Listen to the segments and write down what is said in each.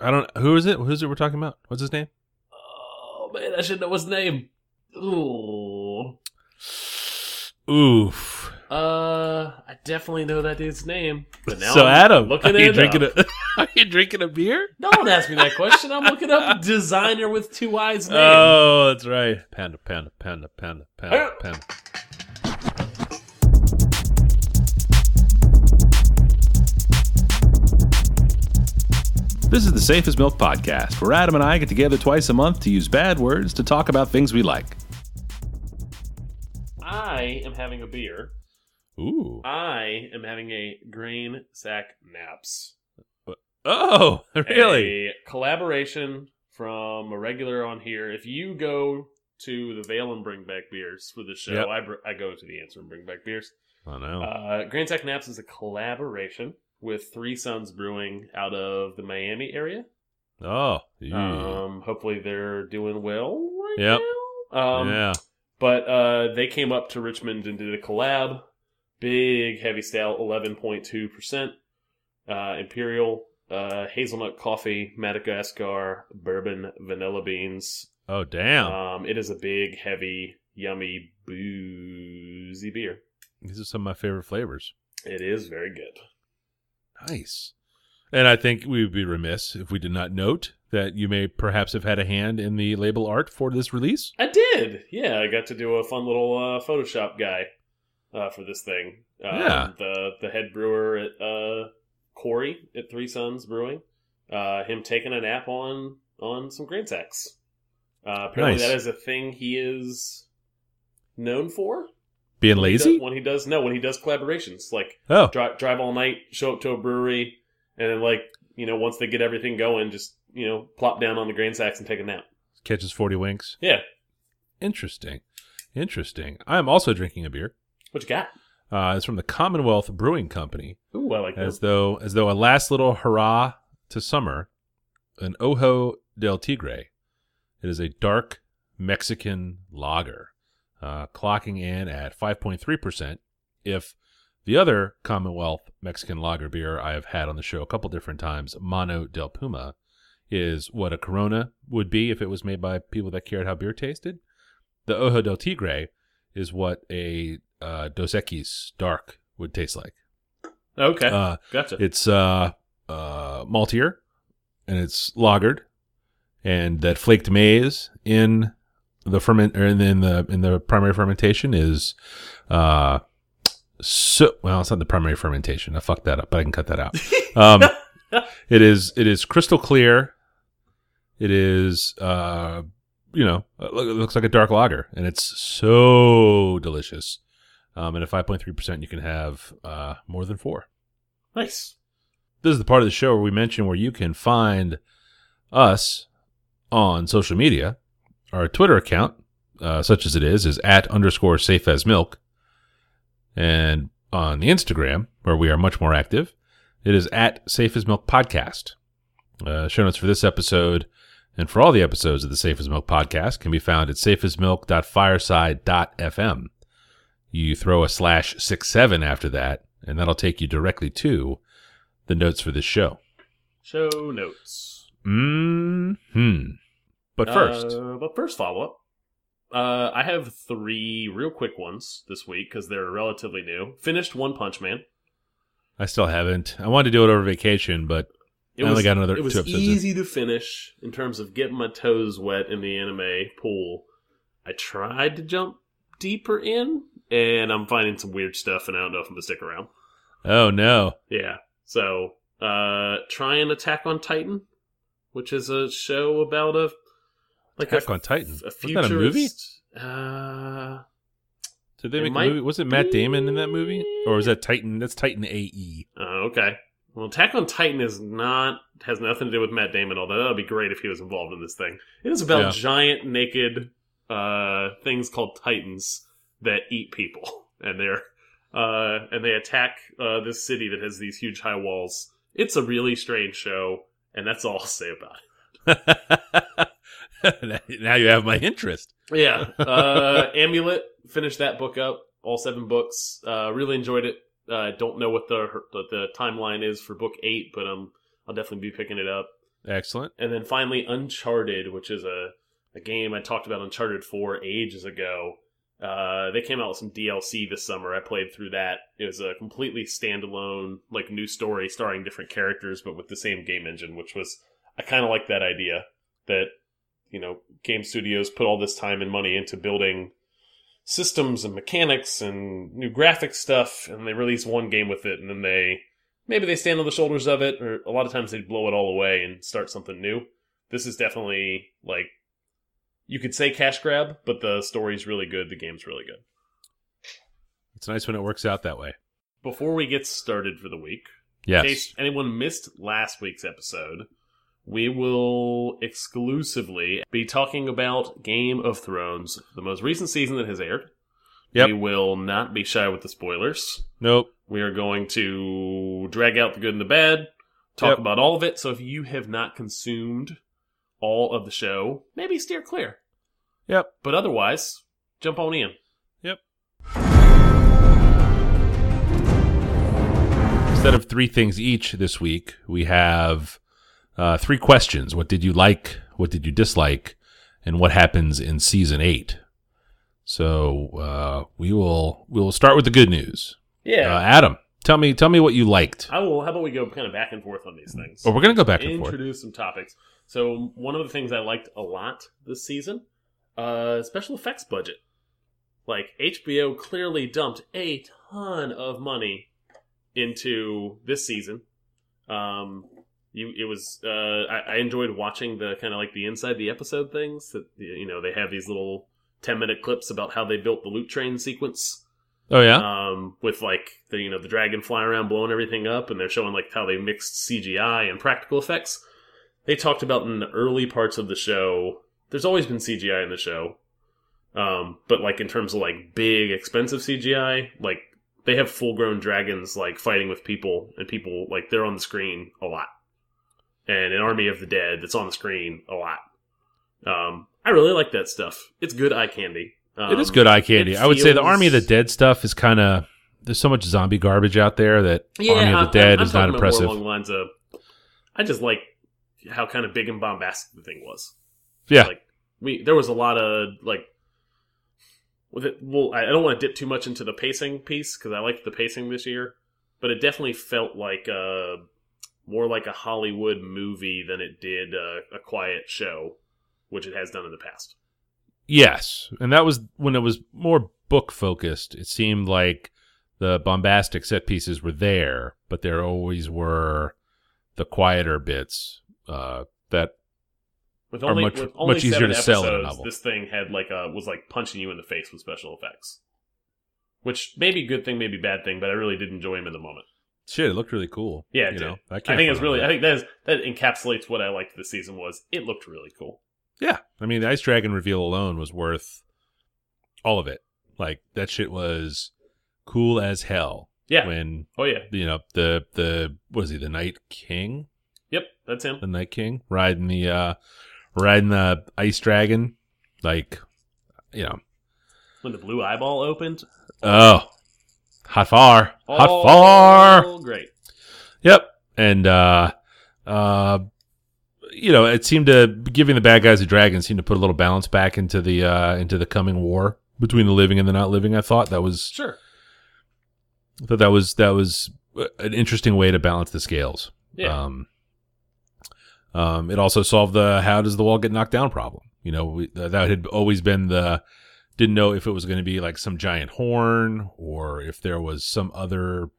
I don't. Who is it? Who's it? We're talking about? What's his name? Oh man, I should know his name. Ooh. Oof. Uh, I definitely know that dude's name. But now so I'm Adam, looking are it you up. drinking a? Are you drinking a beer? Don't ask me that question. I'm looking up designer with two eyes name. Oh, that's right. Panda, panda, panda, panda, panda, panda. This is the Safest Milk Podcast, where Adam and I get together twice a month to use bad words to talk about things we like. I am having a beer. Ooh. I am having a grain sack naps. Oh, really? A collaboration from a regular on here. If you go to the Vale and Bring Back Beers for the show, Yep. I, br- I go to the Answer and Bring Back Beers. Oh no. Uh, Grand Tech Naps is a collaboration with Three Sons Brewing out of the Miami area. Uh, oh. Yeah. Um, hopefully they're doing well right Yep. now. Um, yeah. But uh, they came up to Richmond and did a collab. Big heavy stout, eleven point two percent, imperial, uh, hazelnut coffee, Madagascar bourbon, vanilla beans. Oh damn. Um, it is a big, heavy, yummy, boozy beer. These are some of my favorite flavors. It is very good. Nice. And I think we would be remiss if we did not note that you may perhaps have had a hand in the label art for this release. I did. Yeah, I got to do a fun little uh, Photoshop guy uh, for this thing. Um, Yeah. The the head brewer at uh, Corey at Three Sons Brewing, uh, him taking a nap on on some grain sacks. Uh, apparently, Nice. that is a thing he is known for. Being He does- lazy? when he does no when he does collaborations like Oh, drive drive all night, show up to a brewery, and then like you know once they get everything going, just you know plop down on the grain sacks and take a nap. catches 40 winks. Yeah, Interesting. Interesting. I'm also drinking a beer. what you got? Uh, it's from the Commonwealth Brewing Company. Ooh, I like that. As though as though a last little hurrah to summer, an Ojo del Tigre. It is a dark Mexican lager, uh, clocking in at 5.3%. If the other Commonwealth Mexican lager beer I have had on the show a couple different times, Mano del Puma, is what a Corona would be if it was made by people that cared how beer tasted. The Ojo del Tigre is what a uh, Dos Equis dark would taste like. okay, Uh, gotcha. it's uh, uh, maltier, and it's lagered, and that flaked maize in the ferment or in the in the, in the primary fermentation is uh, so well. It's not the primary fermentation. I fucked that up, but I can cut that out. Um, it is it is crystal clear. It is uh, you know it loo- it looks like a dark lager, and it's so delicious. Um, and at five point three percent, you can have uh, more than four Nice. this is the part of the show where we mention where you can find us on social media. Our Twitter account, uh, such as it is, is at underscore safe as milk. And on the Instagram, where we are much more active, it is at safe as milk podcast. Uh, show notes for this episode and for all the episodes of the Safe as Milk podcast can be found at safeasmilk.fireside.fm. You throw a slash six seven after that, and that'll take you directly to the notes for this show. Show notes. Hmm. But first, Uh, but first, follow up. Uh, I have three real quick ones this week because they're relatively new. Finished One Punch Man. I still haven't. I wanted to do it over vacation, but I only got another It was two episodes in. easy to finish in terms of getting my toes wet in the anime pool. I tried to jump deeper in, and I'm finding some weird stuff, and I don't know if I'm gonna stick around. oh no. Yeah. So, uh, try and Attack on Titan, which is a show about a like Attack a, on Titan. a Wasn't that a movie? futurist- Uh, Did they It make a might movie? Was it Matt Damon in that movie, be- or was that Titan? That's Titan E. AE. oh, okay. Well, Attack on Titan is not has nothing to do with Matt Damon, although that would be great if he was involved in this thing. It is about Yeah. giant naked uh, things called Titans that eat people, and they're uh, and they attack uh, this city that has these huge high walls. It's a really strange show, and that's all I'll say about it. now you have my interest. Yeah. Uh, Amulet, finished that book up, all seven books. Uh, really enjoyed it. Uh, I don't know what the, what the timeline is for book eight, but um, I'll definitely be picking it up. Excellent. And then finally, Uncharted, which is a, a game I talked about Uncharted 4 ages ago. Uh, they came out with some DLC this summer. I played through that. It was a completely standalone, like, new story starring different characters, but with the same game engine, which was, I kind of like that idea that, you know, game studios put all this time and money into building systems and mechanics and new graphic stuff, and they release one game with it, and then they maybe they stand on the shoulders of it, or a lot of times they blow it all away and start something new. This is definitely like you could say cash grab, but the story's really good, the game's really good. It's nice when it works out that way. Before we get started for the week, Yes. in case anyone missed last week's episode, we will exclusively be talking about Game of Thrones, the most recent season that has aired. Yep. We will not be shy with the spoilers. Nope. We are going to drag out the good and the bad, talk Yep. about all of it. So if you have not consumed all of the show, maybe steer clear. Yep. But otherwise, jump on in. Yep. Instead of three things each this week, we have uh, three questions. What did you like? What did you dislike? And what happens in season eight? So uh, we will we will start with the good news. Uh, Adam, tell me tell me what you liked. I will. How about we go kind of back and forth on these things? Well, we're gonna go back and forth. introduce some topics. So one of the things I liked a lot this season, uh, special effects budget. Like HBO clearly dumped a ton of money into this season. Um, you, it was uh, I, I enjoyed watching the kind of like the inside the episode things that you know they have these little ten minute clips about how they built the loot train sequence Oh yeah. um, with like the you know the dragon flying around blowing everything up, and they're showing like how they mixed CGI and practical effects. They talked about in the early parts of the show. There's always been CGI in the show, um, but like in terms of like big expensive CGI, like they have full grown dragons like fighting with people, and people like they're on the screen a lot, and an army of the dead that's on the screen a lot. Um, I really like that stuff. It's good eye candy. Um, it is good eye candy. it I would say the feels- Army of the Dead stuff is kind of there's so much zombie garbage out there that Army I'm- of the Dead I'm is not talking about more impressive. Along the lines of, I just like how kind of big and bombastic the thing was. Yeah. like we there was a lot of like. With it, well, I I don't want to dip too much into the pacing piece because I liked the pacing this year, but it definitely felt like uh more like a Hollywood movie than it did uh, a quiet show, which it has done in the past. Yes, and that was when it was more book focused. It seemed like the bombastic set pieces were there, but there always were the quieter bits uh, that With Are only, much- with only much easier seven to sell in a episodes, novel. This thing had like a was like punching you in the face with special effects, which may be a good thing, maybe bad thing, but I really did enjoy him in the moment. shit. It looked really cool. Yeah, it you did. know, I, I can't think it's front on really, I that. think that is that encapsulates what I liked this season was it looked really cool. yeah. I mean, the Ice Dragon reveal alone was worth all of it. Like that shit was cool as hell. Yeah. When Oh yeah, you know the the what is he the Night King yep, that's him. the Night King, riding the uh riding the ice dragon, like you know. When the blue eyeball opened, Oh. Hot far. Hot all far. great. Yep. And uh uh you know, it seemed to giving the bad guys a dragon seemed to put a little balance back into the uh into the coming war between the living and the not living. I thought that was Sure. I thought that was that was uh, an interesting way to balance the scales. Yeah. Um, um, it also solved the how does the wall get knocked down problem. You know, we, th that had always been the didn't know if it was going to be like some giant horn or if there was some other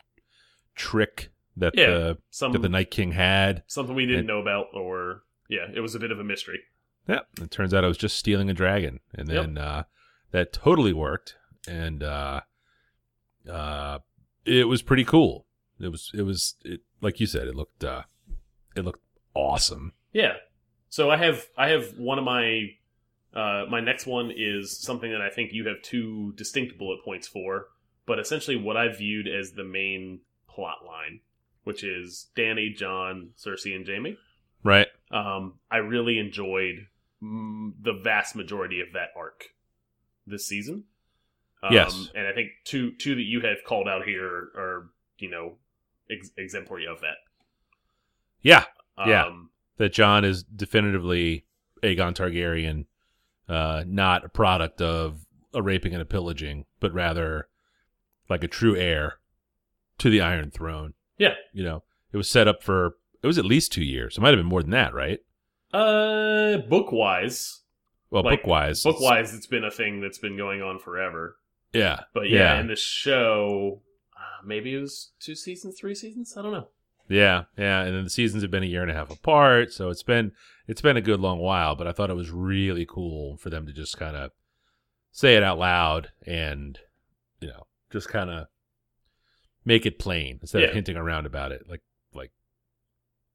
trick that Yeah. Um, the Some that the Night King had. something we didn't it- know about, or yeah, it was a bit of a mystery. Yeah, it turns out I was just stealing a dragon, and Yep. then uh, that totally worked, and uh, uh, it was pretty cool. It was it was it, like you said, it looked uh, it looked awesome. Yeah. So I have I have one of my uh, my next one is something that I think you have two distinct bullet points for, but essentially what I viewed as the main plot line, which is Danny, John, Cersei, and Jamie. Right. Um, I really enjoyed mm, the vast majority of that arc this season. Um, Yes. and I think two two that you have called out here are you know ex exemplary of that. Yeah. Yeah. Um, that John is definitively Aegon Targaryen, uh, not a product of a raping and a pillaging, but rather like a true heir to the Iron Throne. Yeah. You know, it was set up for, it was at least two years. It might have been more than that, right? Uh, book wise, Well, Like, bookwise. book wise, it's been a thing that's been going on forever. Yeah. But yeah, Yeah. in the show, uh, maybe it was two seasons, three seasons. I don't know. Yeah, yeah, and then the seasons have been a year and a half apart, so it's been it's been a good long while. But I thought it was really cool for them to just kind of say it out loud and you know just kind of make it plain instead Yeah. of hinting around about it, like like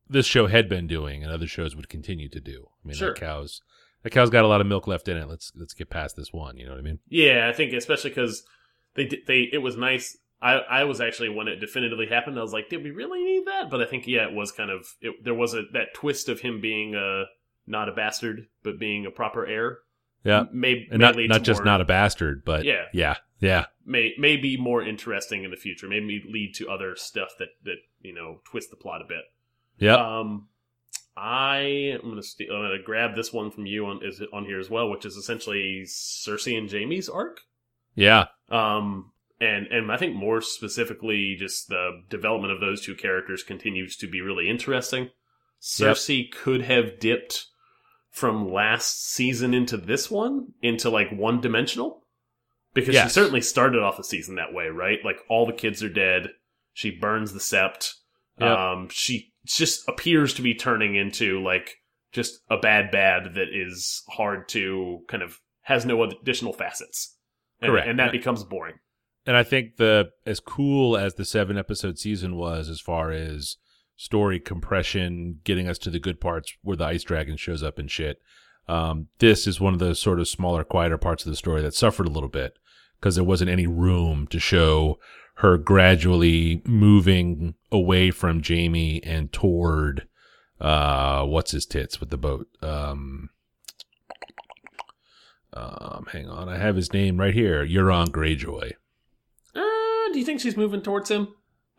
this show had been doing and other shows would continue to do. I mean, Sure. that cow's that cow's got a lot of milk left in it. Let's let's get past this one. You know what I mean? Yeah, I think especially because they did- they it was nice. I I was actually when it definitively happened, I was like, did we really need that? But I think yeah, it was kind of it, there was a that twist of him being a not a bastard, but being a proper heir. Yeah, may, and may not lead not to just more- not a bastard, but yeah yeah, yeah. may may be more interesting in the future. Maybe lead to other stuff that that you know twist the plot a bit. Yep. Um, I am gonna st I'm gonna grab this one from you on is on here as well, which is essentially Cersei and Jamie's arc. yeah. Um, and and I think more specifically, just the development of those two characters continues to be really interesting. Cersei could have dipped from last season into this one into like one dimensional because she Yes. certainly started off the season that way, right? Like all the kids are dead. She burns the sept. Yep. Um, she just appears to be turning into like just a bad bad that is hard to kind of has no additional facets. And, Correct. And that becomes boring. and I think the as cool as the seven episode season was as far as story compression, getting us to the good parts where the ice dragon shows up and shit. Um, this is one of the sort of smaller, quieter parts of the story that suffered a little bit because there wasn't any room to show her gradually moving away from Jamie and toward uh, what's his tits with the boat. Um, um, hang on, I have his name right here. Euron Greyjoy. Uh, do you think she's moving towards him?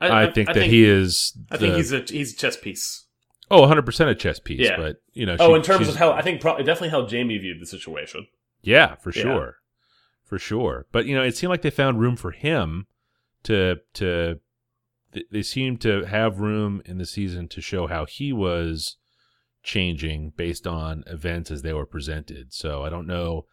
I, think that he is. I think the- he's a he's a chess piece. oh, 100 percent a chess piece. Yeah. But you know, oh, she- in terms she's- of how I think probably definitely how Jamie viewed the situation. yeah, for Yeah. sure, for sure. But you know, it seemed like they found room for him to to. th- They seemed to have room in the season to show how he was changing based on events as they were presented. So I don't know.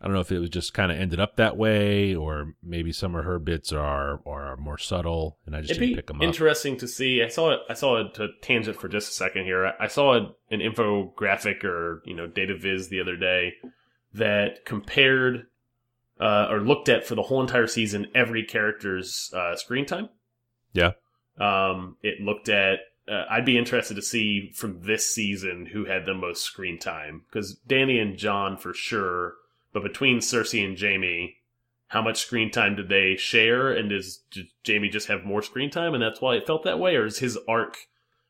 I don't know if it was just kind of ended up that way, or maybe some of her bits are are more subtle, and I just It'd didn't be pick them up. interesting to see. I saw it. I saw it to tangent for just a second here. I- I saw an an infographic or you know data viz the other day that compared uh, or looked at for the whole entire season every character's uh, screen time. Yeah. Um, it looked at. Uh, I'd be interested to see from this season who had the most screen time because Danny and John for sure, but between Cersei and Jamie, how much screen time did they share and does J- jamie just have more screen time and that's why it felt that way or is his arc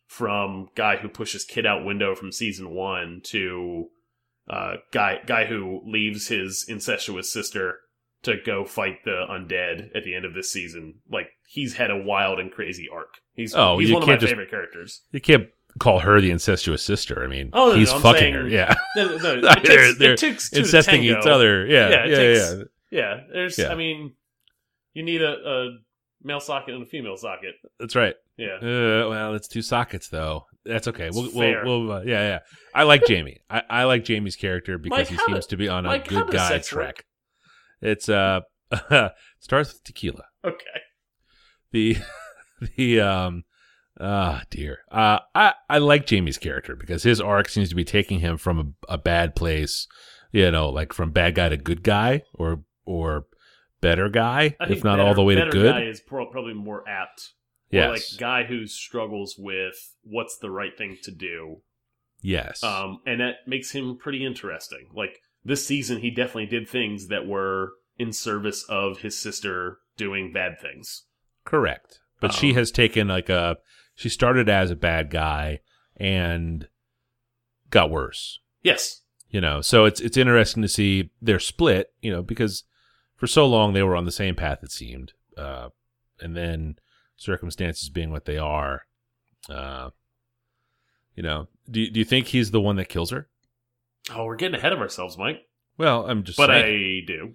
from guy who pushes kid out window from season one to uh, guy guy who leaves his incestuous sister to go fight the undead at the end of this season like he's had a wild and crazy arc he's, Oh, he's you one of my can't just- favorite characters You can't call her the incestuous sister. I mean, Oh, no, no, he's I'm fucking saying- her. Yeah. no, no, no, They're- it takes, they're it takes two to incesting each tango. other. Yeah, Yeah, yeah, it yeah. takes- yeah there's Yeah. i mean you need a, a male socket and a female socket That's right. yeah Uh, well, it's two sockets though. That's okay. We'll, It's we'll, fair. we'll uh, yeah, yeah. I like Jamie. I, I like Jamie's character Mike, because he how seems to do- be on a Mike, how good does guy sex track. work? It's uh, starts with tequila. okay the the um ah dear uh i i like jamie's character because his arc seems to be taking him from a, a bad place you know like from bad guy to good guy or or better guy I if think not better- all the way to better good guy is pro probably more apt. Yeah, yes like guy who struggles with what's the right thing to do, yes um, and that makes him pretty interesting. Like this season, he definitely did things that were in service of his sister doing bad things. Correct. But she Um, has taken like a she started as a bad guy and got worse. Yes, You know, so it's it's interesting to see their split, you know, because for so long they were on the same path it seemed. Uh and then circumstances being what they are, uh You know, do you, do you think he's the one that kills her? Oh, we're getting ahead of ourselves, Mike. Well, I'm just But saying. I do.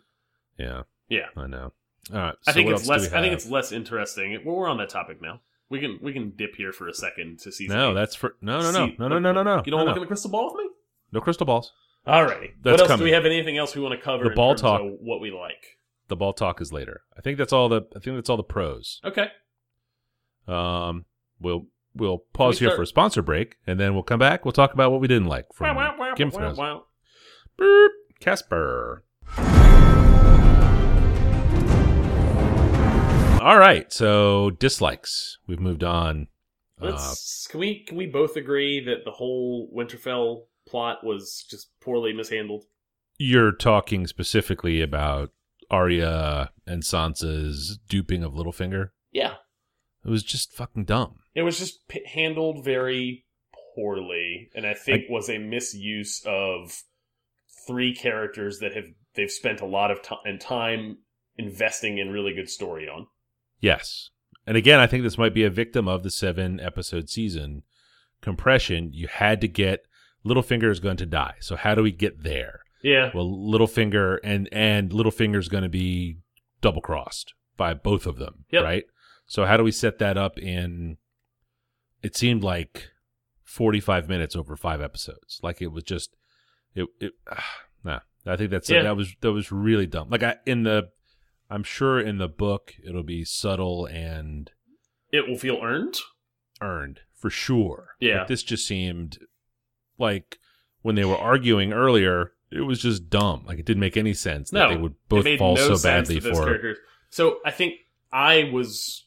yeah Yeah. I know. All right, I think what it's else do less. we I think have? it's less interesting. Well, we're on that topic now. We can we can dip here for a second to see. no. That's for no, no, no, no, no, no, no, no. You don't no, no. look in the crystal ball with me. no crystal balls. Alrighty. That's what else do coming. we have? Anything else we want to cover? The in ball terms talk. of What we like. The ball talk is later. I think that's all the. I think that's all the pros. Okay. Um, we'll we'll pause we here start- for a sponsor break, and then we'll come back. We'll talk about what we didn't like from Wow, wow, wow, Game of wow, Thrones. wow. Boop. Casper. All right, so dislikes. We've moved on. Uh, Let's. can we can we both agree that the whole Winterfell plot was just poorly mishandled? you're talking specifically about Arya and Sansa's duping of Littlefinger. Yeah. It was just fucking dumb. It was just p handled very poorly, and I think was a misuse of three characters that have they've spent a lot of time and time investing in really good story on. Yes. And again, I think this might be a victim of the seven episode season compression. You had to get Littlefinger is going to die. So how do we get there? Yeah, Well, Littlefinger and and Littlefinger's going to be double crossed by both of them, Yep. right? So how do we set that up in? It seemed like forty five minutes over five episodes. Like it was just it. it ah, nah, I think that's Yeah. that was that was really dumb. Like I in the, I'm sure in the book it'll be subtle and it will feel earned. earned for sure. Yeah. But this just seemed like when they were arguing earlier, it was just dumb. Like it didn't make any sense that No, they would both fall so badly those for. characters. So I think I was,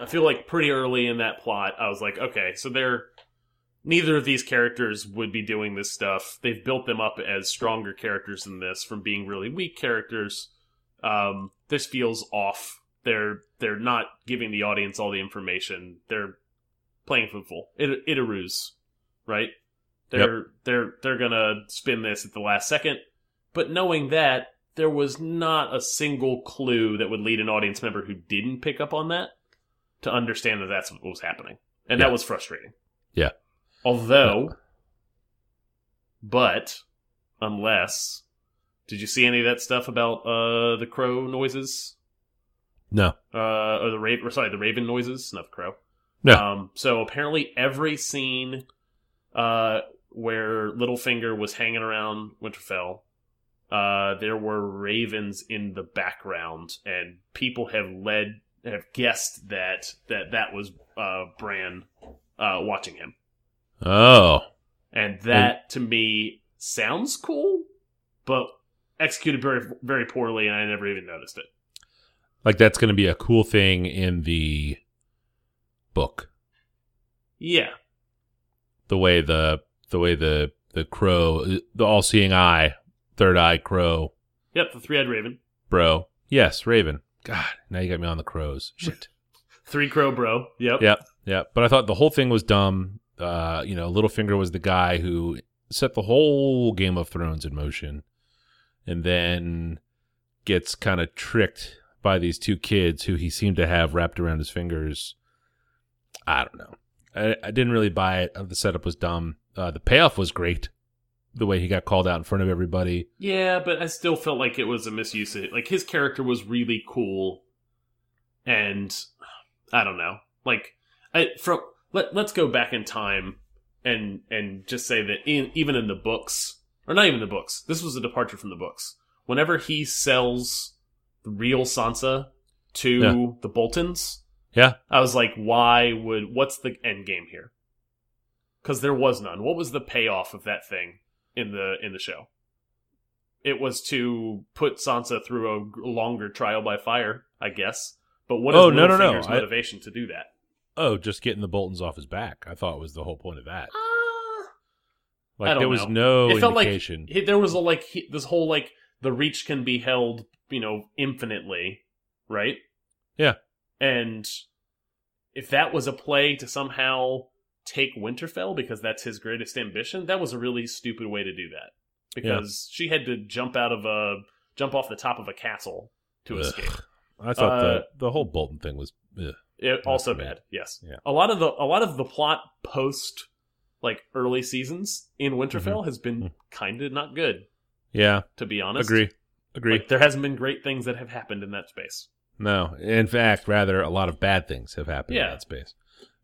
I feel like pretty early in that plot, I was like, okay, so they're neither of these characters would be doing this stuff. They've built them up as stronger characters than this from being really weak characters. Um, this feels off. They're they're not giving the audience all the information. They're playing football. It it a ruse, right? They're they're they're gonna spin this at the last second. But knowing that, there was not a single clue that would lead an audience member who didn't pick up on that to understand that that's what was happening. And Yeah. that was frustrating. Yeah. Although, but, unless, did you see any of that stuff about uh, the crow noises? No. uh, or the raven, or sorry, the raven noises, not the crow. No. Um, so apparently, every scene uh, where Littlefinger was hanging around Winterfell, uh, there were ravens in the background, and people have led have guessed that that that was uh, Bran uh, watching him, Oh. and that to me sounds cool, but executed very very poorly, and I never even noticed it. Like that's going to be a cool thing in the book. Yeah, The way the the way the the crow, the all-seeing eye, third eye crow, yep, the three eyed raven. bro. Yes, Raven. God, now you got me on the crows. Shit. Three Crow Bro. Yep. Yeah, yeah. But I thought the whole thing was dumb. Uh, you know, Littlefinger was the guy who set the whole Game of Thrones in motion, and then gets kind of tricked by these two kids who he seemed to have wrapped around his fingers. I don't know. I, I didn't really buy it. Uh, The setup was dumb. Uh, the payoff was great. The way he got called out in front of everybody. Yeah, but I still felt like it was a misuse. Of, like his character was really cool, and I don't know. Like I from let let's go back in time and and just say that in, even in the books or not even the books, this was a departure from the books. Whenever he sells the real Sansa to Yeah. the Boltons, Yeah. I was like, why would what's the end game here? Because there was none. What was the payoff of that thing in the in the show? It was to put Sansa through a g- longer trial by fire, I guess. But what is Oh, no, no, no. Littlefinger's I- motivation to do that? Oh, just getting the Boltons off his back. I thought was the whole point of that. Like don't there was know. no it felt like indication. he- there was a like he, this whole like the reach can be held, you know, infinitely, right? Yeah. And if that was a play to somehow take Winterfell because that's his greatest ambition, that was a really stupid way to do that because she had to jump out of a jump off the top of a castle to Ugh. escape. I thought Uh, the the whole Bolton thing was. Ugh. It, also for me. bad. Yes. Yeah. A lot of the a lot of the plot post like early seasons in Mm-hmm. Winterfell has Mm. been kind of not good, Yeah, to be honest. agree, agree. Like, there hasn't been great things that have happened in that space. no, in fact, rather a lot of bad things have happened Yeah. in that space.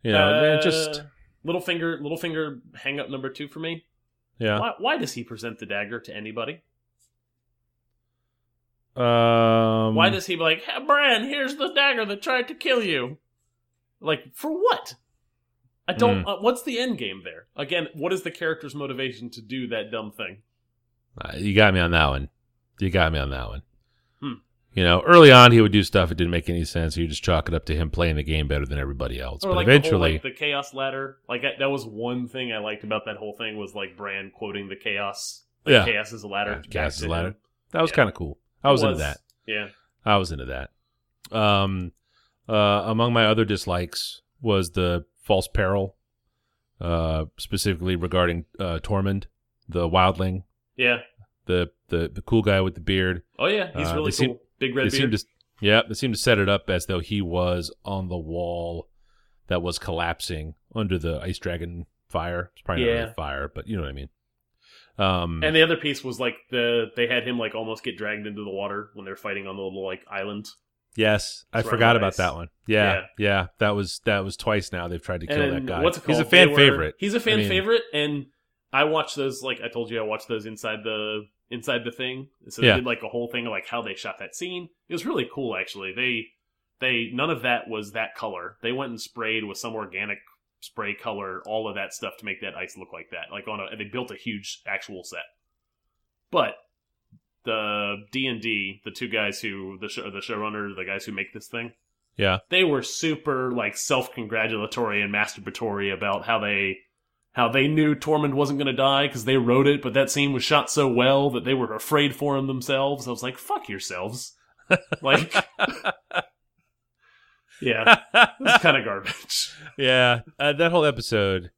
You know, and it just Uh, Littlefinger, Littlefinger, hang up number two for me. yeah. Why, why does he present the dagger to anybody? Um, Why does he be like, hey, Bran, here's the dagger that tried to kill you? Like, for what? I don't. Hmm. Uh, what's the end game there? Again, what is the character's motivation to do that dumb thing? Uh, you got me on that one. You got me on that one. Hmm. You know, early on he would do stuff it didn't make any sense. You just chalk it up to him playing the game better than everybody else. but like eventually, the, whole, like, the chaos ladder. Like I, that was one thing I liked about that whole thing was like Bran quoting the chaos. Like, Yeah. chaos is a ladder. Yeah, chaos back is to a ladder. him. that was yeah. kind of cool. I was, into that. Yeah, I was into that. Um, uh, among my other dislikes was the false peril, uh, specifically regarding uh, Tormund, the wildling, yeah. the, the the cool guy with the beard. Oh yeah, he's Uh, really cool. they seem- Big red they seemed beard. to yeah they seemed to set it up as though he was on the wall that was collapsing under the ice dragon fire it's probably not Yeah. really fire but you know what i mean um And the other piece was like the they had him like almost get dragged into the water when they're fighting on the little like island. yes i It's forgot Runaway about Ice. that one yeah, Yeah. yeah that was that was twice now they've tried to kill that And guy What's it he's a called? fan They were- favorite He's a fan I mean- favorite, and I watched those. Like I told you, I watched those inside the inside the thing. So they Yeah. did like a whole thing of like how they shot that scene. It was really cool, actually. They they none of that was that color. They went and sprayed with some organic spray color, all of that stuff to make that ice look like that. Like on a, they built a huge actual set, but. The D and D, the two guys who the show, the showrunner, the guys who make this thing, yeah they were super like self-congratulatory and masturbatory about how they how they knew Tormund wasn't going to die because they wrote it, but that scene was shot so well that they were afraid for him themselves. I was like, "Fuck yourselves!" like, yeah, it's kind of garbage. yeah uh, that whole episode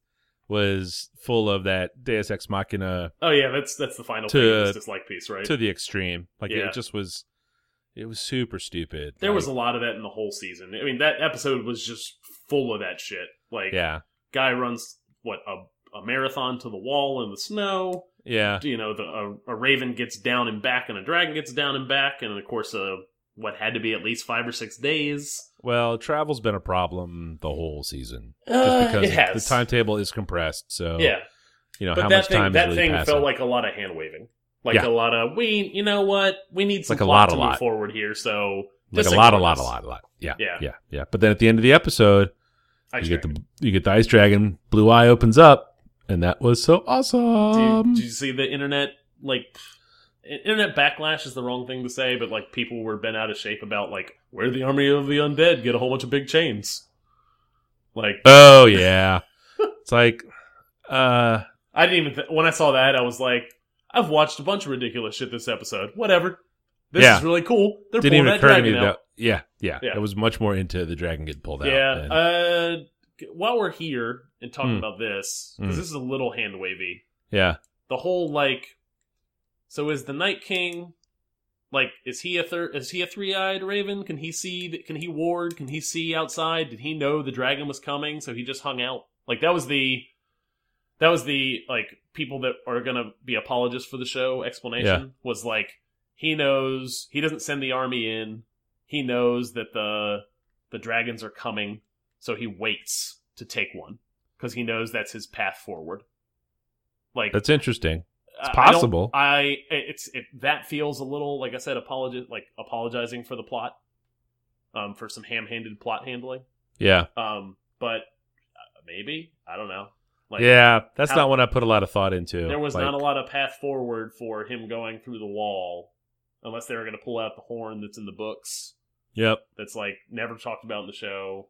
was full of that deus ex machina Oh yeah, that's that's the final To- thing, this dislike piece, right? to the extreme like Yeah. it just was it was super stupid there was a Like, lot of that in the whole season. I mean, that episode was just full of that shit. Like, yeah guy runs what a a marathon to the wall in the snow. yeah you know, the, a, a raven gets down and back, and a dragon gets down and back, and of course, uh, what had to be at least five or six days. Well, travel's been a problem the whole season. Uh, Just because it has. the timetable is compressed, so yeah, you know but how that much thing time that is really thing passing. felt like a lot of hand waving, like Yeah. a lot of we, you know what, we need some Like a lot, plot to a move lot. forward here. So Like just a lot, a ignore lot, a this. lot, a lot. Yeah, Yeah. yeah, yeah. But then at the end of the episode, I you get the you get the ice dragon. Blue eye opens up, and that was so do you, awesome. did you see the internet like internet backlash is the wrong thing to say, but like people were bent out of shape about like where the army of the undead get a whole bunch of big chains. Like oh yeah, it's like, uh, I didn't even. Th when I saw that, I was like, I've watched a bunch of ridiculous shit this episode. Whatever. This Yeah. is really cool. They're didn't pulling even that occur to me dragon out. that. Yeah, yeah, Yeah. It was much more into the dragon getting pulled yeah. out. than- Uh, while we're here and talking Mm. about this, because Mm. this is a little hand wavy. yeah. The whole like, so is the Night King? Like, is he a thir- is he a three eyed raven? Can he see? th- Can he ward? Can he see outside? Did he know the dragon was coming? So he just hung out. Like that was the that was the like people that are gonna be apologists for the show explanation was like he knows he doesn't send the army in he knows that the the dragons are coming so he waits to take one because he knows that's his path forward like That's interesting. I- possible. I, don't- I it's it, that feels a little like I said apologi like apologizing for the plot, um, for some ham-handed plot handling. Yeah, Um, but uh, maybe I don't know. Like, yeah. That's how- not one I put a lot of thought into. there was Like, not a lot of path forward for him going through the wall, unless they were going to pull out the horn that's in the books Yep. that's like never talked about in the show.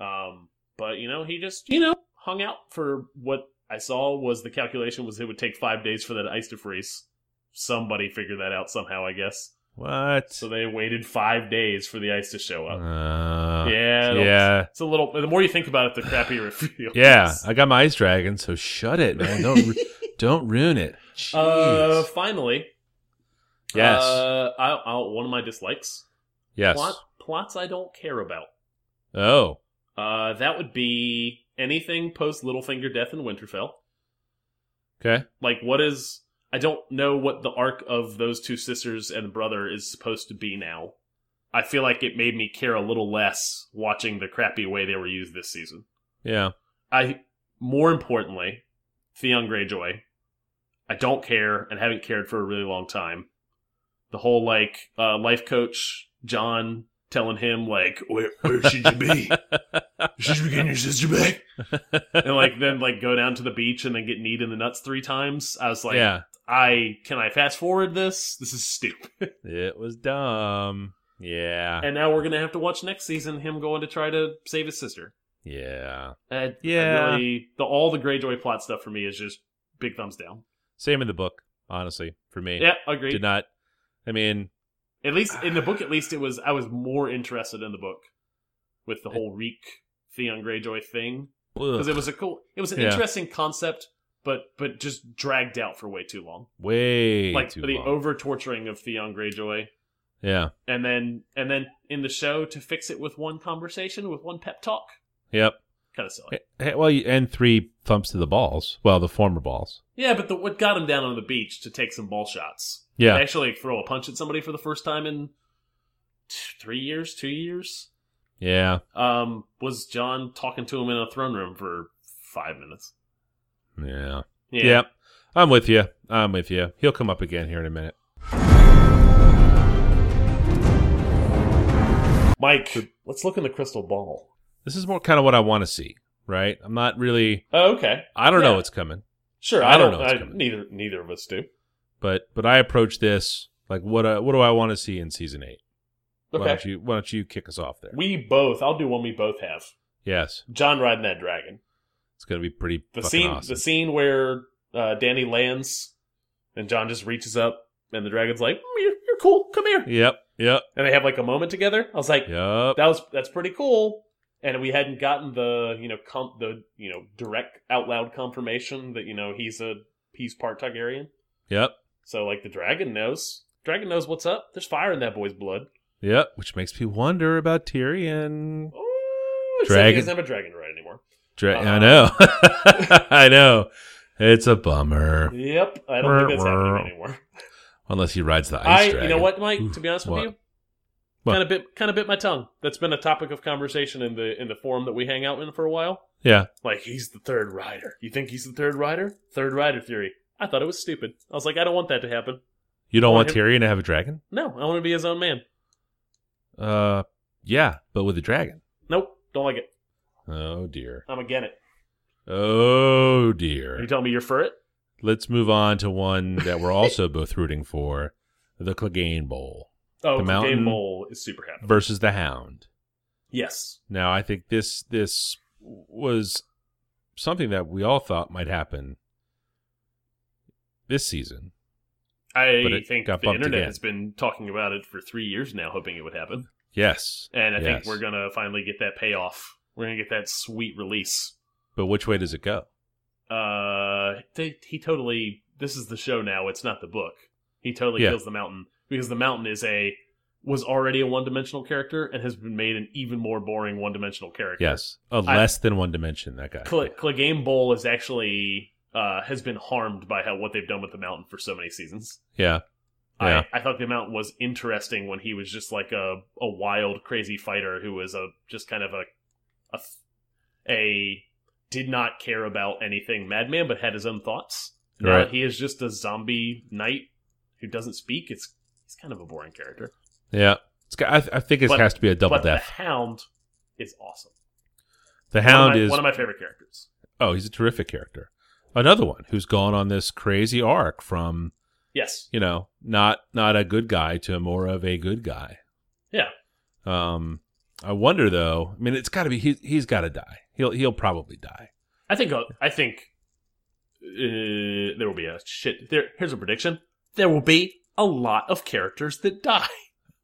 Um, but you know, he just you know hung out for what I saw was the calculation was it would take five days for that ice to freeze. Somebody figured that out somehow, I guess. What? So they waited five days for the ice to show up. Uh, yeah, it'll- yeah, It's a little. The more you think about it, the crappier it feels. yeah. I got my ice dragon, so shut it, man. Don't ru- don't ruin it. Jeez. Uh, finally, yes, Uh, I, I, one of my dislikes. yes. Plot, plots I don't care about. Oh, Uh, that would be anything post Littlefinger death in Winterfell. Okay. Like, what is? I don't know what the arc of those two sisters and brother is supposed to be now. I feel like it made me care a little less watching the crappy way they were used this season. Yeah. I more importantly, Theon Greyjoy. I don't care and haven't cared for a really long time. The whole like uh, life coach John telling him like where, where should you be? should you be getting your sister back? and like then like go down to the beach and then get kneed in the nuts three times. I was like, yeah. I can I fast forward this? This is stupid. It was dumb. Yeah. and now we're gonna have to watch next season him going to try to save his sister. yeah. Uh, Yeah. I really, the all the Greyjoy plot stuff for me is just big thumbs down. Same in the book, honestly, for me. Yeah, agreed. Did not. I mean, At least in the book, at least it was. I was more interested in the book with the whole Reek Theon Greyjoy thing because it was a cool, it was an Yeah. interesting concept, but but just dragged out for way too long. way like too the long. over torturing of Theon Greyjoy, yeah. and then and then in the show to fix it with one conversation with one pep talk, Yep. kind of silly. Eh, eh, Well, you- and three thumps to the balls. Well, the former balls. Yeah, but the, what got him down on the beach to take some ball shots? Yeah. actually throw a punch at somebody for the first time in t three years, two years. Yeah. Um, was John talking to him in a throne room for five minutes? Yeah. Yep. I'm with you. I'm with you. He'll come up again here in a minute. Mike, let's look in the crystal ball. This is more kind of what I want to see, right? I'm not really. Oh, okay. I don't know Yeah. what's coming, Sure. I I, don't don't. know what's I, coming. neither. Neither of us do. but but I approach this like what uh, what do I want to see in season eight? Why Okay. don't you Why don't you kick us off there? We both. I'll do one. We both have yes, John riding that dragon. it's gonna be pretty The fucking scene. awesome. The scene where uh, Danny lands, and John just reaches up, and the dragon's like, "Mm, "You're, you're cool. Come here." Yep. Yep. And they have like a moment together. I was like, Yep. that was that's pretty cool. And we hadn't gotten the you know com- the you know direct out loud confirmation that you know he's a he's part Targaryen. Yep. So like the dragon knows. Dragon knows what's up. There's fire in that boy's blood. Yep. Which makes me wonder about Tyrion. Ooh, except Dragon- Oh, He doesn't have a dragon right anymore. Dra Uh, I know. I know. It's a bummer. Yep, I don't think that's happening anymore. Unless he rides the I ice dragon. you know what, Mike? Ooh, to be honest what? with you, What? kind of bit kind of bit my tongue. That's been a topic of conversation in the in the forum that we hang out in for a while. Yeah. Like he's the third rider. You think he's the third rider? Third rider theory. I thought it was stupid. I was like, I don't want that to happen. You don't want Want Tyrion to have a dragon? No, I want to be his own man. Uh, yeah, but with a dragon. Nope, don't like it. Oh dear. I'm again it. Oh Are you dear. telling me you're for it? Let's move on to one that we're also both rooting for: the Clegane Bowl Oh, The the mountain- game mole is super happy. versus the Hound. Yes. Now, I think this this was something that we all thought might happen this season. I But it think the got bumped internet again. has been talking about it for three years now, hoping it would happen. Yes. And I Yes. think we're gonna finally get that payoff. We're gonna get that sweet release. But which way does it go? Uh, they, he totally. This is the show now. It's not the book. He totally Yeah. kills the mountain because the mountain is a was already a one dimensional character and has been made an even more boring one dimensional character. Yes, a less than one dimension. That guy. Cl Clegane Bowl is actually uh, has been harmed by how what they've done with the mountain for so many seasons. Yeah. Yeah. I, I thought the mountain was interesting when he was just like a, a wild, crazy fighter who was a just kind of a a, a did not care about anything madman, but had his own thoughts. Now Right. he is just a zombie knight who doesn't speak. It's he's kind of a boring character. Yeah. It's got, I, th- I think it But- has to be a double but death. the Hound is awesome. The One of Hound my- is one of my favorite characters. oh, he's a terrific character. Another one who's gone on this crazy arc from Yes, you know not not a good guy to more of a good guy. Yeah. Um, I wonder though. I mean, it's got to be he, he's got to die. He'll he'll probably die. I think I think uh, there will be a shit. There, here's a prediction: there will be a lot of characters that die.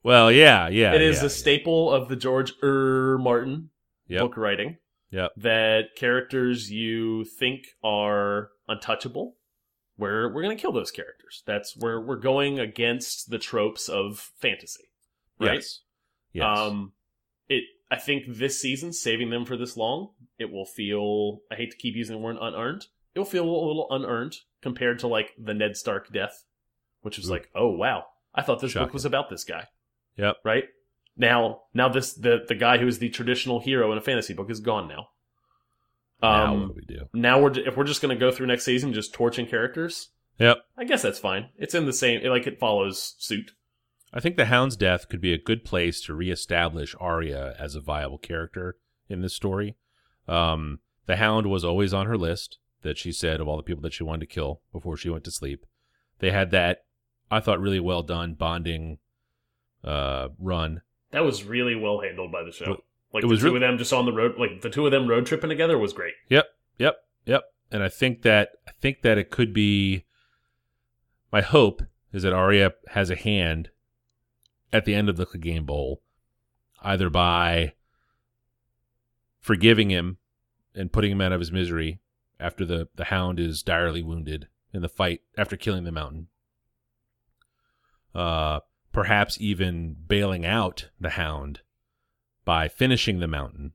Well, yeah, yeah. it is yeah, a staple of the George R. Martin Yep. book writing. Yep. That characters you think are untouchable, we're we're gonna kill those characters. That's where we're going against the tropes of fantasy, right? Yes. Yes. Um, it. I think this season, saving them for this long, it will feel. I hate to keep using the word unearned. it'll feel a little unearned compared to like the Ned Stark death, which was Ooh. like, oh wow, I thought this book Hmm. Shocking. was about this guy. Yep. Right now, now this the the guy who is the traditional hero in a fantasy book is gone now. now Um, what do we do? now, we're if we're just gonna go through next season just torching characters. Yep. I guess that's fine. It's in the same like it follows suit. I think the Hound's death could be a good place to reestablish Arya as a viable character in this story. Um, the Hound was always on her list that she said of all the people that she wanted to kill before she went to sleep. They had that, I thought, really well done bonding uh, run. That was really well handled by the show. Well, Like it the was two real- of them just on the road, like the two of them road tripping together was great. Yep, yep. And I think that I think that it could be. My hope is that Arya has a hand at the end of the game bowl, either by forgiving him and putting him out of his misery after the the Hound is direly wounded in the fight after killing the Mountain. Uh, perhaps even bailing out the Hound by finishing the Mountain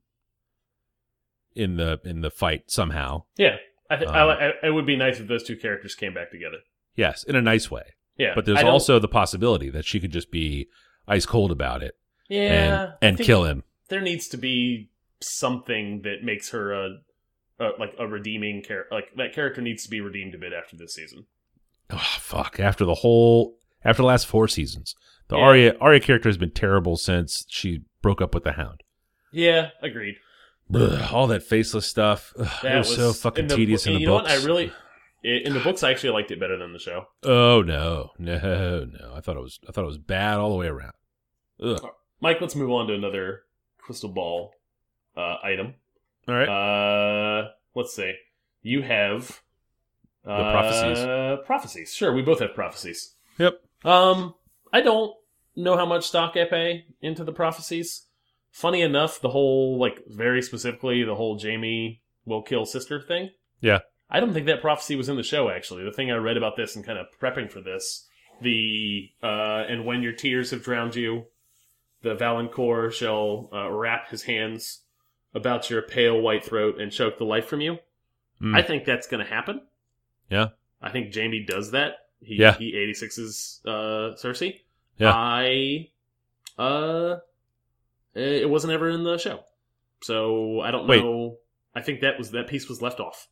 in the in the fight somehow. Yeah, I, th Um, I, I it would be nice if those two characters came back together. Yes, in a nice way. Yeah, But there's I don't- also the possibility that she could just be ice cold about it yeah, I and and think kill him. There needs to be something that makes her a, a like a redeeming character. Like that character needs to be redeemed a bit after this season. Oh, fuck! After the whole, after the last four seasons, the Yeah. Arya Arya character has been terrible since she broke up with the Hound. Yeah, agreed. Ugh, all that faceless stuff. Ugh, That it was, so fucking in the, tedious in the you know books. What? I really in the books I actually liked it better than the show. Oh no, no, no! I thought it was I thought it was bad all the way around. Ugh. Mike, let's move on to another crystal ball uh, item. All right, Uh, let's see. You have uh, prophecies. Prophecies. Sure, we both have prophecies. Yep. Um, I don't know how much stock I pay into the prophecies. Funny enough, the whole like very specifically the whole Jamie will kill sister thing. Yeah. I don't think that prophecy was in the show actually. The thing I read about this and kind of prepping for this, the uh, and when your tears have drowned you, the Valancourt shall uh, wrap his hands about your pale white throat and choke the life from you. Mm. I think that's going to happen. Yeah. I think Jamie does that. He, Yeah. He 86's uh, Cersei. Yeah. I, uh, it it wasn't ever in the show. So I don't Wait. know. I think that was, that piece was left off.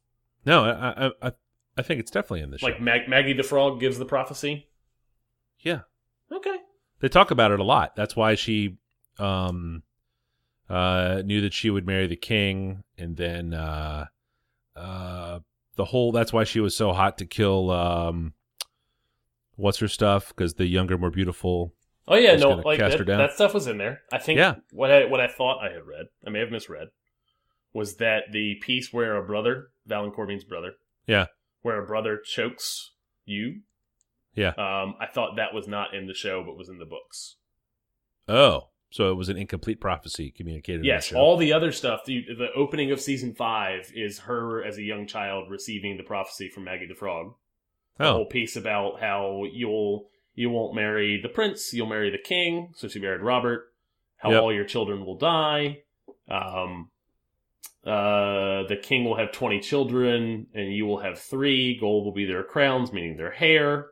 no, I, I I I think it's definitely in the show. Like Mag Maggie the Frog gives the prophecy. Yeah. Okay. they talk about it a lot. That's why she um uh knew that she would marry the king and then uh uh the whole that's why she was so hot to kill um what's her stuff cuz the younger more beautiful Oh yeah, Just no, gonna like cast that, her down. that stuff was in there. I think Yeah. what I what I thought I had read, I may have misread, was that the piece where a brother, Valancourt means brother, Yeah. where a brother chokes you, Yeah. Um, I thought that was not in the show, but was in the books. oh so it was an incomplete prophecy communicated yes, in the show. all the other stuff. The the opening of season five is her as a young child receiving the prophecy from Maggie the Frog. the whole oh piece about how you'll you won't marry the prince, you'll marry the king. So she married Robert. How Yep. all your children will die. Um, uh, the king will have twenty children, and you will have three. Gold will be their crowns, meaning their hair.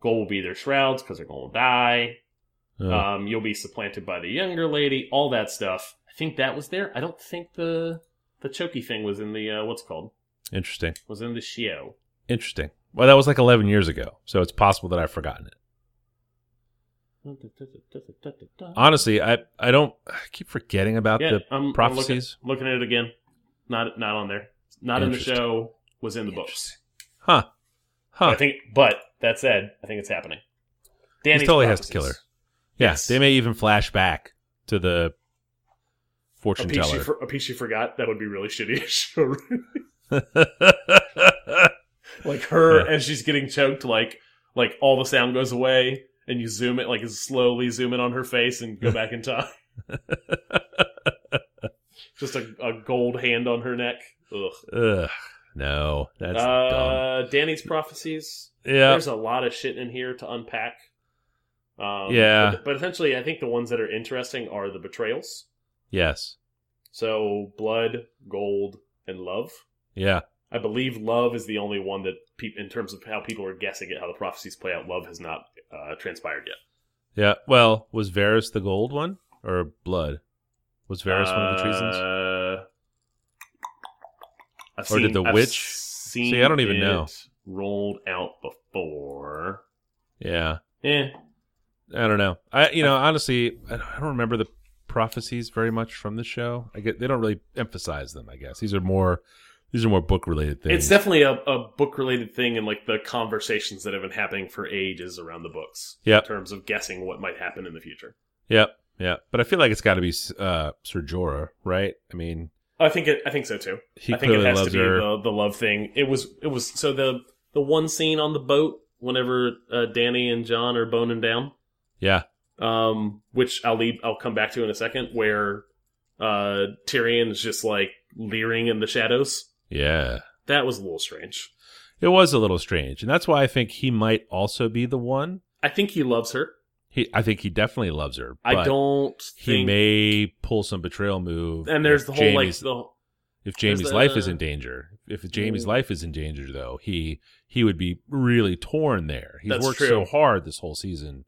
Gold will be their shrouds because they're going to die. oh. Um, you'll be supplanted by the younger lady. All that stuff. I think that was there. I don't think the the choky thing was in the uh, what's it called interesting was in the show. interesting well that was like 11 years ago so it's possible that i've forgotten it honestly i i don't i keep forgetting about Yeah, the I'm, prophecies? I'm looking, looking at it again. Not not on there. Not in the Interesting. show. Was in the books. huh huh I think. But that said, I think it's happening. Danny's totally has to prophecies. Yeah, Yes. they may even flash back to the A fortune piece, you teller. for, a piece you forgot. That would be really shitty. Sure. like her, and she's getting choked. Like like all the sound goes away, and you zoom it like slowly zoom in on her face and go back in time. Just a, a gold hand on her neck. Ugh. Ugh, no, that's dumb. uh, Danny's prophecies. Yeah, there's a lot of shit in here to unpack. Um, Yeah. but, but essentially, I think the ones that are interesting are the betrayals. yes, So blood, gold, and love. yeah, I believe love is the only one that, peop in terms of how people are guessing it, how the prophecies play out, love has not uh, transpired yet. Yeah. Well, was Varus the gold one or blood? Was Varus one of the treasons? Uh, I've Or did the I've witch- seen See, I don't even it know. Rolled out before. Yeah. Eh. I don't know. I you know honestly, I don't I don't remember the prophecies very much from the show. I get they don't really emphasize them. I guess these are more these are more book related things. It's definitely a, a book related thing and like the conversations that have been happening for ages around the books. Yep. In terms of guessing what might happen in the future. Yep, yeah. But I feel like it's got to be uh, Sir Jorah, right? I mean, I think it I think so too. he I think it clearly has loves to be her. the, the love thing. It was it was so the the one scene on the boat whenever uh, Danny and John are boning down, Yeah, um, which I'll leave I'll come back to in a second, where uh, Tyrion is just like leering in the shadows. yeah. That was a little strange. It was a little strange, and that's why I think he might also be the one. I think he loves her. He, I think he definitely loves her. I but don't He think. may pull some betrayal move. and there's if the whole Jamie's, like the if Jamie's the- life is in danger. If Jamie's Mm. life is in danger, though, he he would be really torn there. He's That's worked true. so hard this whole season,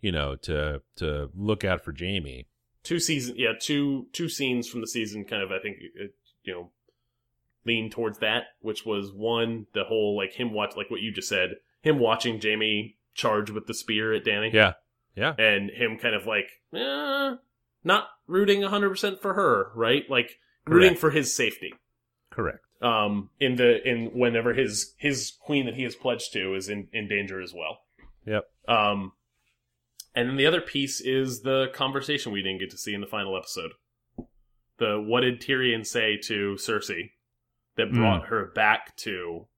you know, to to look out for Jamie. two season yeah two two scenes from the season kind of i think it, you know lean towards that which was one the whole like him watch like what you just said him watching jamie charge with the spear at danny Yeah, yeah. and him kind of like eh, not rooting 100% for her right like rooting Correct. for his safety Correct. um in the in whenever his his queen that he is pledged to is in in danger as well Yep. um and then the other piece is the conversation we didn't get to see in the final episode the what did tyrion say to cersei that Hmm. brought her back to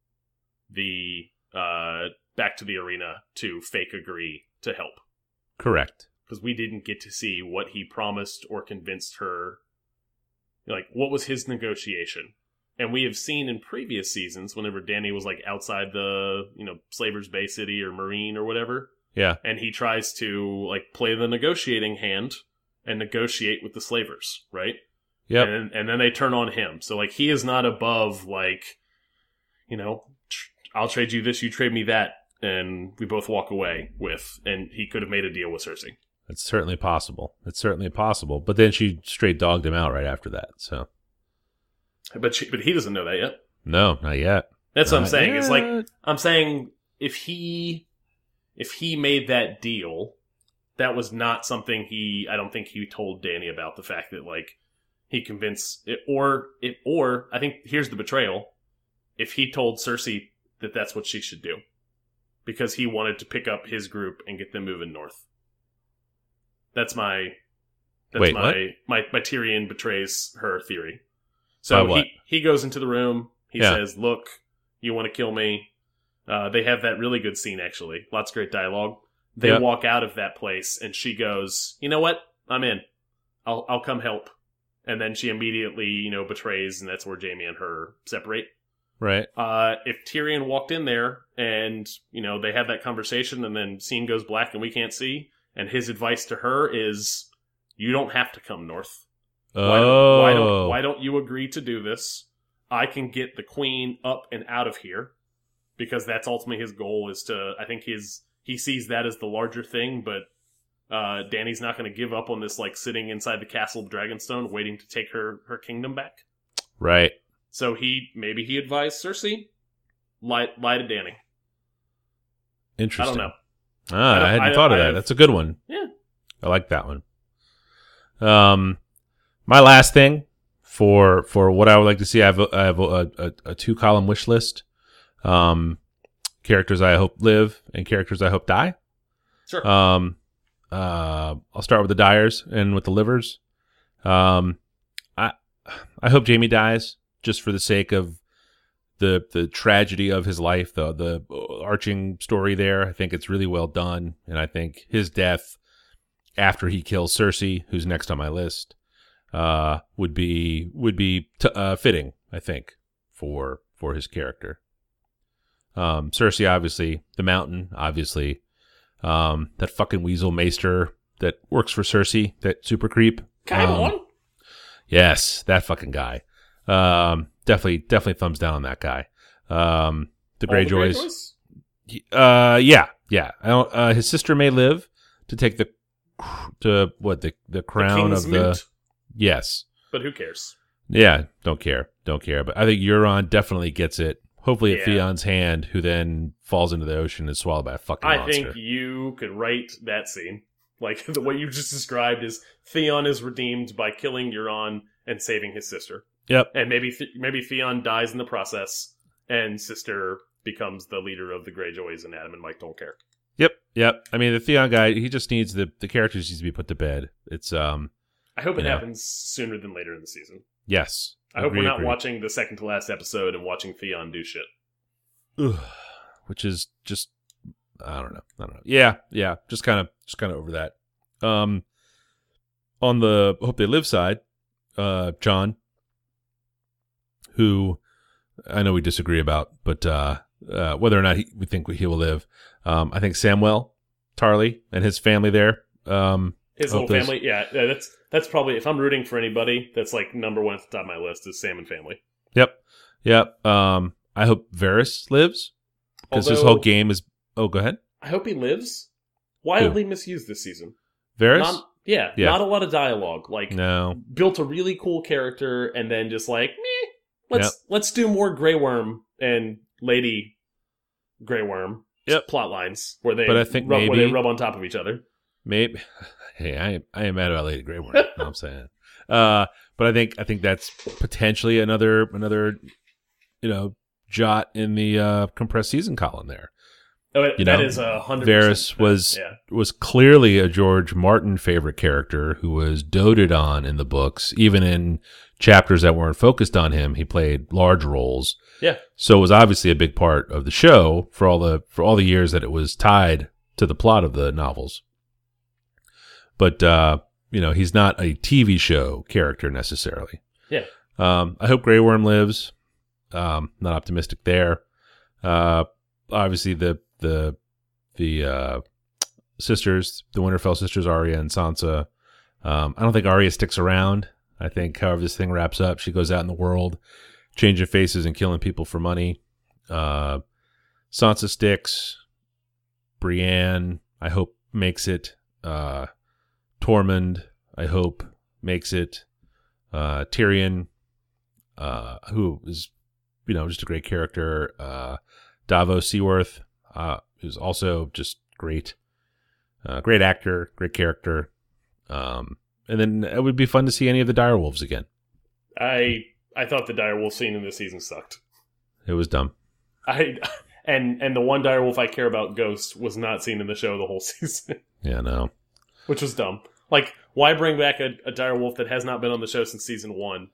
the uh back to the arena to fake agree to help Correct. because we didn't get to see what he promised or convinced her. Like, what was his negotiation? And we have seen in previous seasons, whenever Danny was like outside the, you know, Slaver's Bay City or Marine or whatever, Yeah. and he tries to like play the negotiating hand and negotiate with the slavers, right? Yep. and, and then they turn on him. So like he is not above like, you know, tr I'll trade you this, you trade me that, and we both walk away with. And he could have made a deal with Cersei. It's certainly possible. It's certainly possible. But then she straight dogged him out right after that. So But she, but he doesn't know that yet. no, not yet. That's what I'm Not saying. Is like yet. I'm saying if he if he made that deal, that was not something he I don't think he told Danny about the fact that like he convinced it, or it or I think here's the betrayal. If he told Cersei that that's what she should do because he wanted to pick up his group and get them moving north. That's my that's Wait, my, what? my my Tyrion betrays her theory. So By what? he he goes into the room. He Yeah. says, "Look, you want to kill me." Uh, they have that really good scene actually. Lots of great dialogue. They Yeah. walk out of that place, and she goes, "You know what? I'm in. I'll I'll come help." And then she immediately, you know, betrays, and that's where Jamie and her separate. Right. Uh, if Tyrion walked in there and, you know, they have that conversation and then scene goes black and we can't see, and his advice to her is, you don't have to come north. Oh. Why, don't, why, don't, why don't you agree to do this? I can get the queen up and out of here because that's ultimately his goal is to, I think his, he sees that as the larger thing, but, uh, Danny's not going to give up on this, like sitting inside the castle of Dragonstone waiting to take her, her kingdom back. right. So he maybe he advised Cersei lie lie to Danny. I Interesting. don't know. Ah, I don't- I, hadn't I- thought of I that. have- That's a good one. Yeah. I like that one. Um, my last thing for for what I would like to see, I have a, I have a, a, a two column wish list. Um, characters I hope live and characters I hope die. Sure. Um, uh, I'll start with the dyers and with the livers. Um, I I hope Jamie dies just for the sake of the the tragedy of his life, the the arching story there. I think it's really well done, and I think his death after he kills Cersei, who's next on my list, uh, would be would be t uh, fitting. I think for for his character. Um, Cersei, obviously, the Mountain, obviously, um, that fucking weasel Maester that works for Cersei, that super creep. Um, Yes, that fucking guy. Um, definitely definitely thumbs down on that guy. Um, the All the Greyjoys. Greyjoys? Uh, yeah, yeah. I don't, uh, his sister may live to take the cr- to what the the The crown King's of the Moot. yes. But who cares? Yeah, don't care, don't care. But I think Euron definitely gets it. Hopefully, at Yeah. Fion's hand, who then falls into the ocean and is swallowed by a fucking I monster. think you could write that scene. Like the way you just described is Theon is redeemed by killing Euron and saving his sister. Yep. And maybe Th maybe Theon dies in the process, and sister becomes the leader of the Greyjoys, and Adam and Mike don't care. Yep, yep. I mean, the Theon guy, he just needs the the characters needs to be put to bed. It's um, I hope it Yeah. happens sooner than later in the season. yes. I hope we're agree, not agree. watching the second to last episode and watching Theon do shit. Ugh, which is just I don't know. I don't know. Yeah, yeah. Just kind of just kind of over that. Um on the hope they live side, uh John who I know we disagree about, but uh, uh whether or not he, we think he will live. Um I think Samwell, Tarly and his family there. Um His Hope whole there's- family, yeah, yeah, that's that's probably if I'm rooting for anybody, that's like number one at the top of my list is Sam and family. yep. Yep. Um I hope Varys lives because this Although- whole game is Oh, go ahead. I hope he lives. Wildly misused this season. Varys? Not, yeah, Yeah. not a lot of dialogue. Like no. built a really cool character and then just like, meh, let's let's do more Grey Worm and Lady Grey Worm Yep. plot lines where they But I think rub, where they maybe- rub on top of each other. Maybe. Hey, I am I am mad about Lady Grey Worm. know what I'm saying. Uh, but I think I think that's potentially another another, you know, jot in the uh, compressed season column. There Oh, it- You that know, is a hundred. Varys percent. was Yeah, was clearly a George Martin favorite character who was doted on in the books, even in chapters that weren't focused on him. He played large roles. Yeah. So it was obviously a big part of the show for all the for all the years that it was tied to the plot of the novels. But uh, you know, he's not a TV show character necessarily. Yeah. Um, I hope Grey Worm lives. Um, not optimistic there. Uh, obviously the the the uh sisters, the Winterfell sisters, Arya and Sansa. Um, I don't think Arya sticks around. I think however this thing wraps up, she goes out in the world, changing faces and killing people for money. Uh, Sansa sticks. Brienne, I hope makes it. Uh, Tormund, I hope makes it. Uh, Tyrion, uh, who is, you know, just a great character. Uh, Davos Seaworth, uh, who's also just great uh, great actor, great character. Um, and then it would be fun to see any of the direwolves again. I I thought the direwolf scene in this season sucked. It was dumb. I and and the one direwolf I care about, Ghost, was not seen in the show the whole season. Yeah, no. which was dumb. Like, why bring back a, a direwolf that has not been on the show since season one,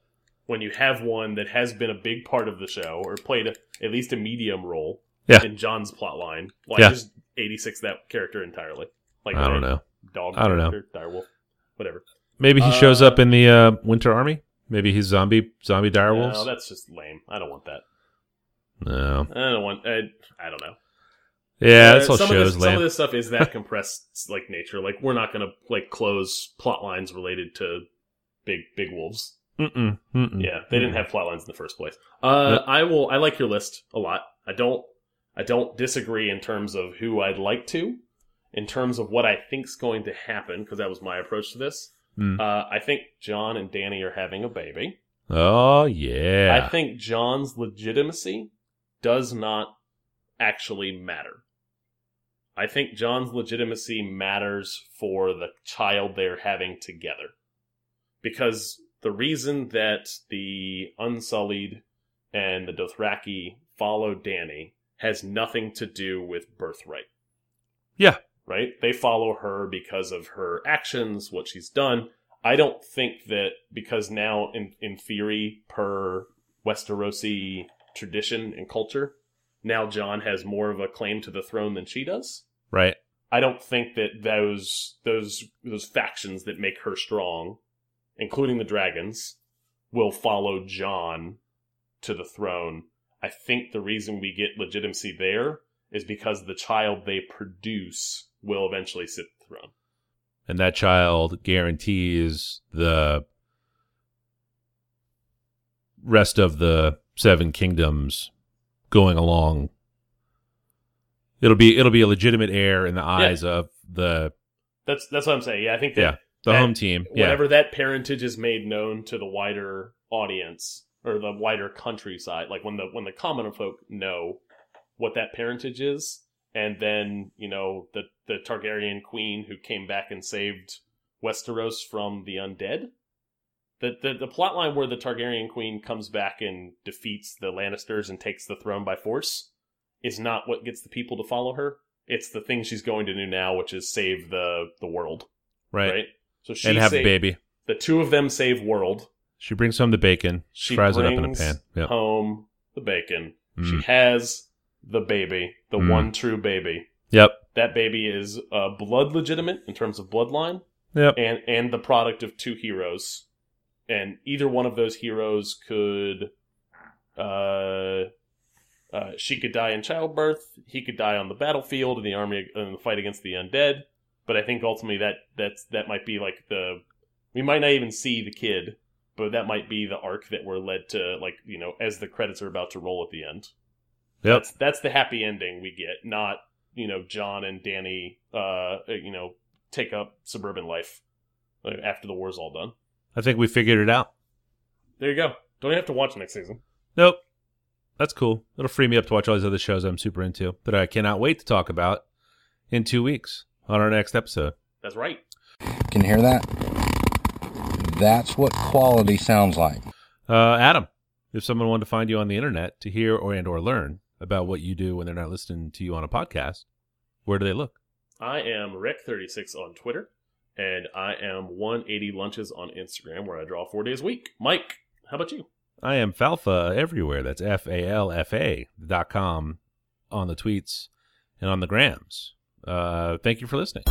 when you have one that has been a big part of the show or played a, at least a medium role Yeah. in John's plotline? Why Yeah. just eighty six that character entirely? Like, I don't that know. Dog. I don't know. character, Direwolf. Whatever. Maybe he shows Uh, up in the uh, Winter Army. Maybe he's zombie zombie No, direwolves. that's just lame. I don't want that. No. I don't want. I, I don't know. Yeah, that's Uh, all some of shows this, Some lame. of this stuff is that compressed, like nature. Like, we're not gonna like close plot lines related to big big wolves. Mm-mm, mm-mm. Yeah, they didn't have flat lines in the first place. Uh, I will. I like your list a lot. I don't. I don't disagree in terms of who I'd like to, in terms of what I think's going to happen, because that was my approach to this. Mm. Uh, I think John and Danny are having a baby. Oh yeah. I think John's legitimacy does not actually matter. I think John's legitimacy matters for the child they're having together. Because the reason that the Unsullied and the Dothraki follow Danny has nothing to do with birthright. Yeah. Right? They follow her because of her actions, what she's done. I don't think that because now in in theory per Westerosi tradition and culture, now John has more of a claim to the throne than she does. right. I don't think that those those those factions that make her strong, including the dragons, will follow John to the throne. I think the reason we get legitimacy there is because the child they produce will eventually sit the throne. And that child guarantees the rest of the Seven Kingdoms going along. It'll be it'll be a legitimate heir in the eyes of the That's that's what I'm saying. Yeah, I think that Yeah. the That- home team. Yeah. whenever that parentage is made known to the wider audience or the wider countryside, like when the when the common folk know what that parentage is, and then you know the the Targaryen queen who came back and saved Westeros from the undead. The, the, the plot line where the Targaryen queen comes back and defeats the Lannisters and takes the throne by force is not what gets the people to follow her. It's the thing she's going to do now, which is save the the world, right? Right. So she And have a saved- baby. the two of them save world. She brings home the bacon. She fries it brings up in a pan. Yeah. home the bacon. She Mm. has the baby, the Mm. one true baby. Yep. That baby is uh, blood legitimate in terms of bloodline, Yep. and and the product of two heroes, and either one of those heroes could, uh, uh, she could die in childbirth. He could die on the battlefield in the army in the fight against the undead. But I think ultimately that that's that might be like the we might not even see the kid, but that might be the arc that we're led to like you know as the credits are about to roll at the end. Yep. That's that's the happy ending we get, not you know John and Danny, uh, you know, take up suburban life like, after the war's all done. I think we figured it out. There you go. Don't even have to watch next season. Nope. That's cool. It'll free me up to watch all these other shows I'm super into that I cannot wait to talk about in two weeks on our next episode. That's right. Can you hear that? That's what quality sounds like. Uh, Adam, if someone wanted to find you on the internet to hear or and or learn about what you do when they're not listening to you on a podcast, where do they look? I am Rec36 on Twitter, and I am 180 Lunches on Instagram, where I draw four days a week. Mike, how about you? I am Falfa everywhere. That's F A L F A dot com on the tweets and on the grams. Uh, thank you for listening.